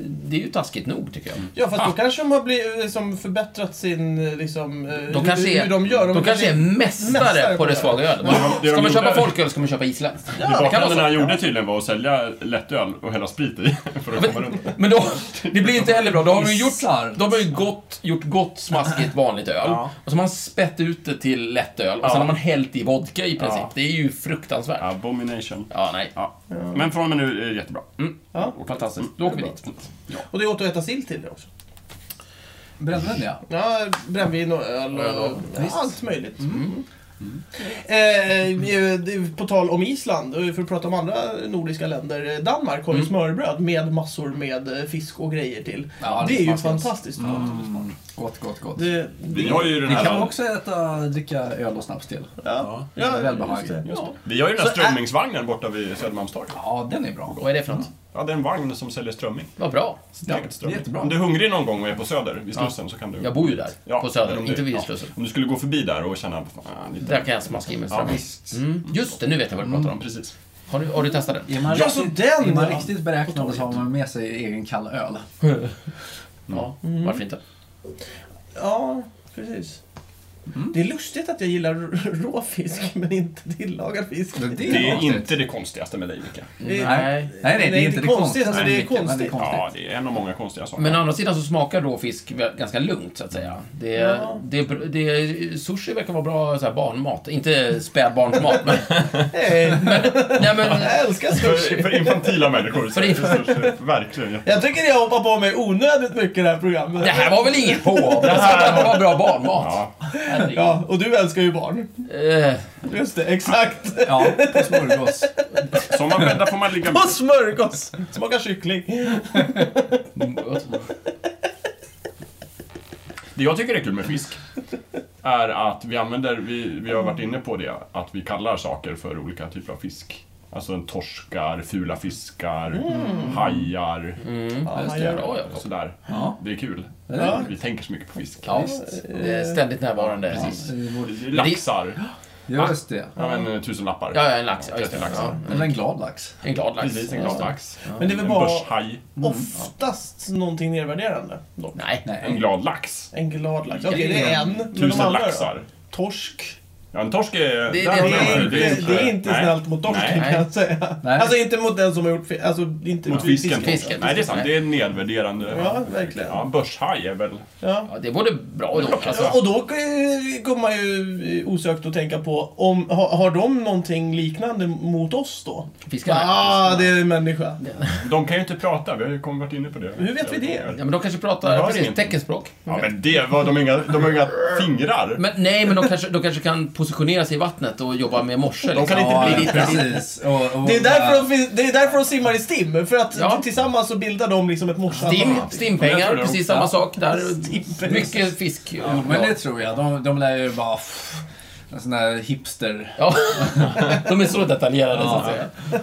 det är ju taskigt nog, tycker jag.
Ja, fast då kanske de har blivit, liksom, förbättrat sin... Liksom, eh,
De kanske
hur,
är,
hur de gör.
de kanske är mästare,
mästare
på
på
det
det.
svaga ölet.
de
Ska man
gjorde
köpa
är-
folköl ska man köpa isländskt.
Det
det kan vara
bakländerna
så.
gjorde tydligen var att sälja lättöl och hälla sprit i. För att komma runt.
Men då, det blir ju inte heller bra. Då har de ju gjort,
Isar.
de har ju gott, gjort gott smaskigt vanligt öl.
Ja.
Och så har man spett ut det till lättöl och sen har man hällt i vodka i princip.
Ja.
Det är ju fruktansvärt. Ja,
Abomination.
nej.
Ja. Men från och med nu är det jättebra.
Ja.
Och-
Fantastiskt.
Mm.
Då åker vi dit.
Ja.
Och det är åt att äta sill till det också.
Brännvin ja.
Ja, brännvin och öl och,
Öl och-
ja, allt möjligt. Mm. Eh, eh, det- på tal om Island, och för att prata om andra nordiska länder. eh, Danmark har ju smörbröd med massor med eh, fisk och grejer till.
Ja,
det, är
det
ju
smakar
fantastiskt. Mm.
Mm. Gott, gott, gott. Det,
Det,
Vi har ju den här,
kan man också äta, dricka öl och snaps till.
ja,
det är
ja,
välbehag.
just det. Ja.
vi har ju den här
Så, äh-
strömmingsvagnen borta vid Södermalmstorg.
Ja, den är bra.
Vad är det för något?
Ja, det är en vagn som säljer strömming.
Vad bra.
Ja,
Stekt strömming.
det är jättebra.
Om du är hungrig någon gång och är på Söder, vid Slussen, så kan du...
Jag bor ju där.
Ja,
på
men om
Söder.
du-
Inte vid
ja.
Slussen.
Om du skulle gå förbi där och känna... Fan, lite...
Där kan jag smaska in mig
Ja,
strömming.
visst.
Mm. Just det, nu vet jag vad du pratar
Ja,
om.
precis.
Har du, har du testat den?
Är man,
Ja, så
riktigt,
den,
är man
ja.
riktigt beräknande så har man med sig egen kall öl.
Ja, varför inte?
Ja, precis. Det är lustigt att jag gillar r- rå fisk men inte tillagad fisk.
Det, det
Det är
konstigt.
inte det konstigaste med Leivika.
Det är-
Nej.
Nej, nej, det är inte det konstigaste.
alltså, det är
men
konstigt.
Ja, det är en av många konstiga saker.
Men å andra sidan så smakar rå fisk väl- ganska lugnt, så att säga. Det,
Ja.
det, det, sushi verkar vara bra så här, barnmat. Inte spädbarnsmat, men...
Nej,
nej, men
jag älskar
för,
sushi.
för infantila människor.
För
infantila. Verkligen. ja.
Jag tycker jag hoppar på mig onödigt mycket i det här programmet.
det här var väl inget hov? Det här var bra barnmat.
Ja.
Herregud.
Ja, och du älskar ju barn.
Eh,
Just det, exakt.
Ja, på smörgås.
Som man bäddar får man ligga...
Och smörgås! Smakar kyckling.
Det jag tycker är kul med fisk är att vi använder, vi, vi har varit inne på det, att vi kallar saker för olika typer av fisk. Alltså en torskar, fula fiskar, hajar.
Ja,
just
han
det.
gör
bra, Jakob.
Sådär.
Ja.
Det är kul.
Ja.
Vi tänker så mycket på fisk.
Ja, eh, ständigt närvarande.
Ja,
precis.
Laxar.
Ja, just det.
Ja, men eh, tusenlappar.
Ja, ja, en lax. Ja, just det.
30 laxar.
Ja.
Eller en glad lax.
En glad lax.
Precis, en glad lax.
Men det är väl
En
bara-
börshaj.
Oftast någonting nedvärderande. Då.
Nej.
En
Nej.
glad lax.
En glad lax. Okej, det är en. men de
Tusen
andra då?
laxar.
Torsk.
Ja, en torsk är... där
det-
har
Det
vi
är
den.
inte, det är inte
nej.
snällt mot torsken kan
Nej.
jag säga.
Nej.
Alltså inte mot den som har gjort fel. Alltså inte
Mot fisken.
Fisken.
Nej, det är sant. Det är nedvärderande.
Ja, verkligen.
Ja, börshaj är väl...
Ja.
Ja, det är både bra och dåligt. Alltså.
Ja, Och då eh, kommer man ju osökt att tänka på, om, har, har de någonting liknande mot oss då?
Fiskarna.
Ja, ah, det är en människa.
De kan ju inte prata, vi har ju kommit varit inne på det.
Hur vet vi det?
Ja, men de kanske
Det
pratar
hörs
precis,
inte.
teckenspråk.
Ja, men det var... De har inga, de har inga fingrar.
Men, nej, men de kanske, de kanske kan positionera sig i vattnet och jobba med morse.
De kan
liksom.
inte bli
Ja,
lite...
precis. Och, och,
Det är, därför de, fin- det är därför de simmar i STIM, för att
Ja.
tillsammans så bildar de liksom ett morsan.
Stim,
Men jag
stimpengar,
tror det
precis
också.
samma sak där.
Stimpengar.
Mycket fisk.
Ja, men det tror jag. De, de lär ju bara... Pff, en sån där hipster...
Ja, de är så detaljerade så att
Ja.
säga.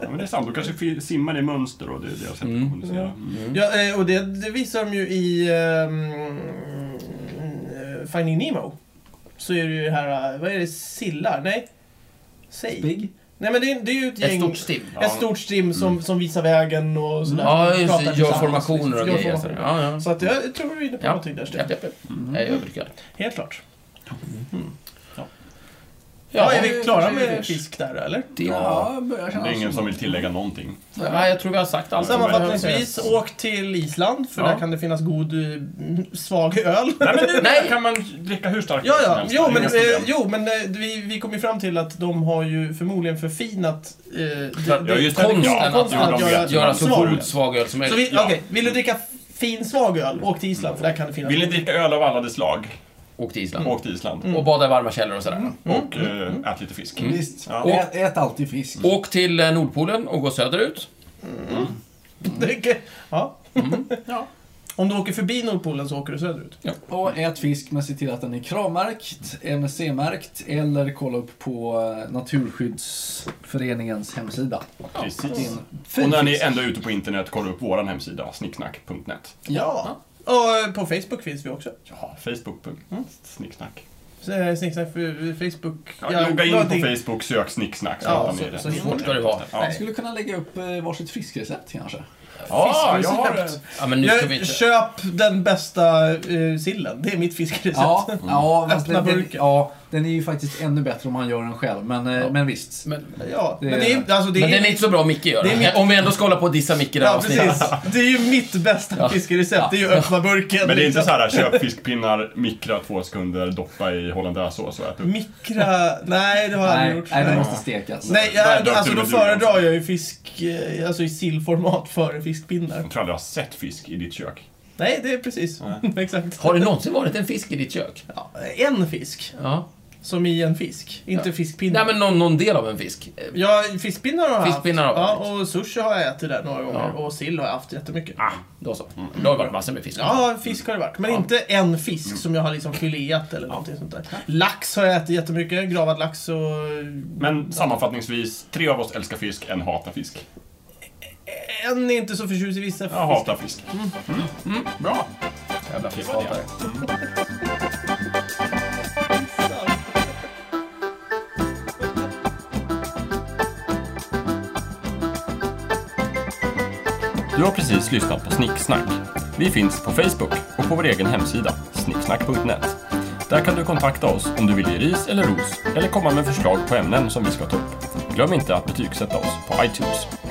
Ja, men det är sant, de kanske fi- simmar i mönster och det är deras sätt att kommunicera. Mm.
Ja, eh, och det, det visar de ju i ehm, eh, Finding Nemo. Så är det ju det här, eh, vad är det, sillar? Nej? Säg.
Big.
Nej men det, är- det är ju ett
Ett
gäng.
stort stim. Mm.
Ja.
Ett stort stim som, som visar vägen och sådär.
Ja, just
Pratar
det. Gör
tillsammans. liksom.
formationer och
Gör
grejer. så där.
formationer.
Ja, ja.
Så att jag tror vi är Mm. inne på
Ja.
någonting där,
Japp,
Sten.
japp, japp. Jag är övertygad.
Helt klart.
Ja,
Ja, är vi klara med
precis.
fisk där eller?
Det-
Ja, börjar
Det är
kännas
ingen som vill tillägga någonting.
Nej, jag tror vi har sagt allt. som
Sammanfattningsvis,
behöver sägas.
åk till Island för
Ja.
där kan det finnas god eh, m- svag öl.
Nej, men nu
Nej.
kan man dricka hur starkt
Ja,
som
ja.
helst.
Jo,
Det är
men,
inga
eh,
problem.
jo, men eh, vi, vi kom ju fram till att de har ju förmodligen förfinat eh, det-
Ja, just det. Ja,
Konsten
konsten
ja,
att
att
de
göra,
vet ju
göra så
svag öl.
god svag öl som
Så
möjligt.
vi,
Ja.
okej, vill du dricka fin svag öl, åk till Island för där kan det finnas
Vill ni dricka öl av alla dess slag?
Åk till
Mm.
Island.
Åk till Island.
Och bada i varma källor och sådär.
Och eh, ät lite fisk.
Visst.
Ja.
Ät, ät alltid fisk.
Åk till eh, Nordpolen och gå söderut.
Dricka- Ja.
Mm.
Om du åker förbi Nordpolen så åker du söderut.
Och ät fisk, men se till att den är kravmärkt, MSC-märkt eller kolla upp på eh, Naturskyddsföreningens hemsida.
Precis.
Fin
Och när ni
fisk.
ändå är ute på internet, kolla upp vår hemsida, snicksnack.net.
Ja. Och eh, på Facebook finns vi också.
Ja, facebook.snicksnack.
Så, Snicksnack för Facebook.
Ja, Logga in
någonting.
på Facebook, sök snicksnack så
Ja,
hittar
så-
ni det.
så hittar
Svårt ska det vara.
Ja,
Vi skulle kunna lägga upp eh, varsitt fiskrecept kanske.
ja jag har
Fiskrecept.
Ja, men nu ska vi
Jag,
inte...
köp den bästa eh, sillen. Det är mitt fiskerecept.
Ja, ja, fast
Öppna
den, den,
burken.
ja, den är ju faktiskt ännu bättre om man gör den själv, men, eh, men visst.
Men,
Ja,
Det-
men det är, alltså, det
men
är,
den är inte så bra Micke gör.
Det är mitt-
Om vi ändå ska hålla på och dissa Micke där
Ja,
avsnittet.
precis. Det är ju mitt bästa fiskerecept. Det är ju öppna burken.
Men det är inte
liksom.
så här köp fiskpinnar, mikra två sekunder, doppa i hollandaisesås och ät upp.
Mikra... Nej, det har jag aldrig
Nej,
gjort.
nej, den
Nej.
måste stekas.
Nej,
Där
jag,
dök
alltså
du
då
med
föredrar
du.
jag ju fisk, eh, alltså i sillformat före fiskpinnar.
Jag tror aldrig jag har sett fisk i ditt kök.
Nej, det är precis. Exakt.
Har det någonsin varit en fisk i ditt kök?
Ja, en fisk.
Ja.
Som i en fisk. Inte
Nej,
fiskpinnar.
men någon, någon del av en fisk. Eh,
Ja, fiskpinnar har jag
Fiskpinnar har
haft.
jag
Ja, och sushi har jag ätit där några gånger.
Ja.
Och sill har jag haft jättemycket.
Ah, då så. Då har det varit massor med fisk.
Ja, fisk har det varit. Men inte en fisk som jag har liksom fileat eller någonting sånt där. Lax har jag ätit jättemycket. Gravad lax och...
Men sammanfattningsvis, tre av oss älskar fisk, en hatar fisk.
En är inte så förtjust i vissa
Jag
fiskar.
hatar fisk. Mm. Mm. Bra!
Jävla
fiskhatare.
Du har precis lyssnat på Snicksnack. Vi finns på Facebook och på vår egen hemsida, snicksnack.net. Där kan du kontakta oss om du vill ge ris eller ros eller komma med förslag på ämnen som vi ska ta upp. Glöm inte att betygsätta oss på iTunes.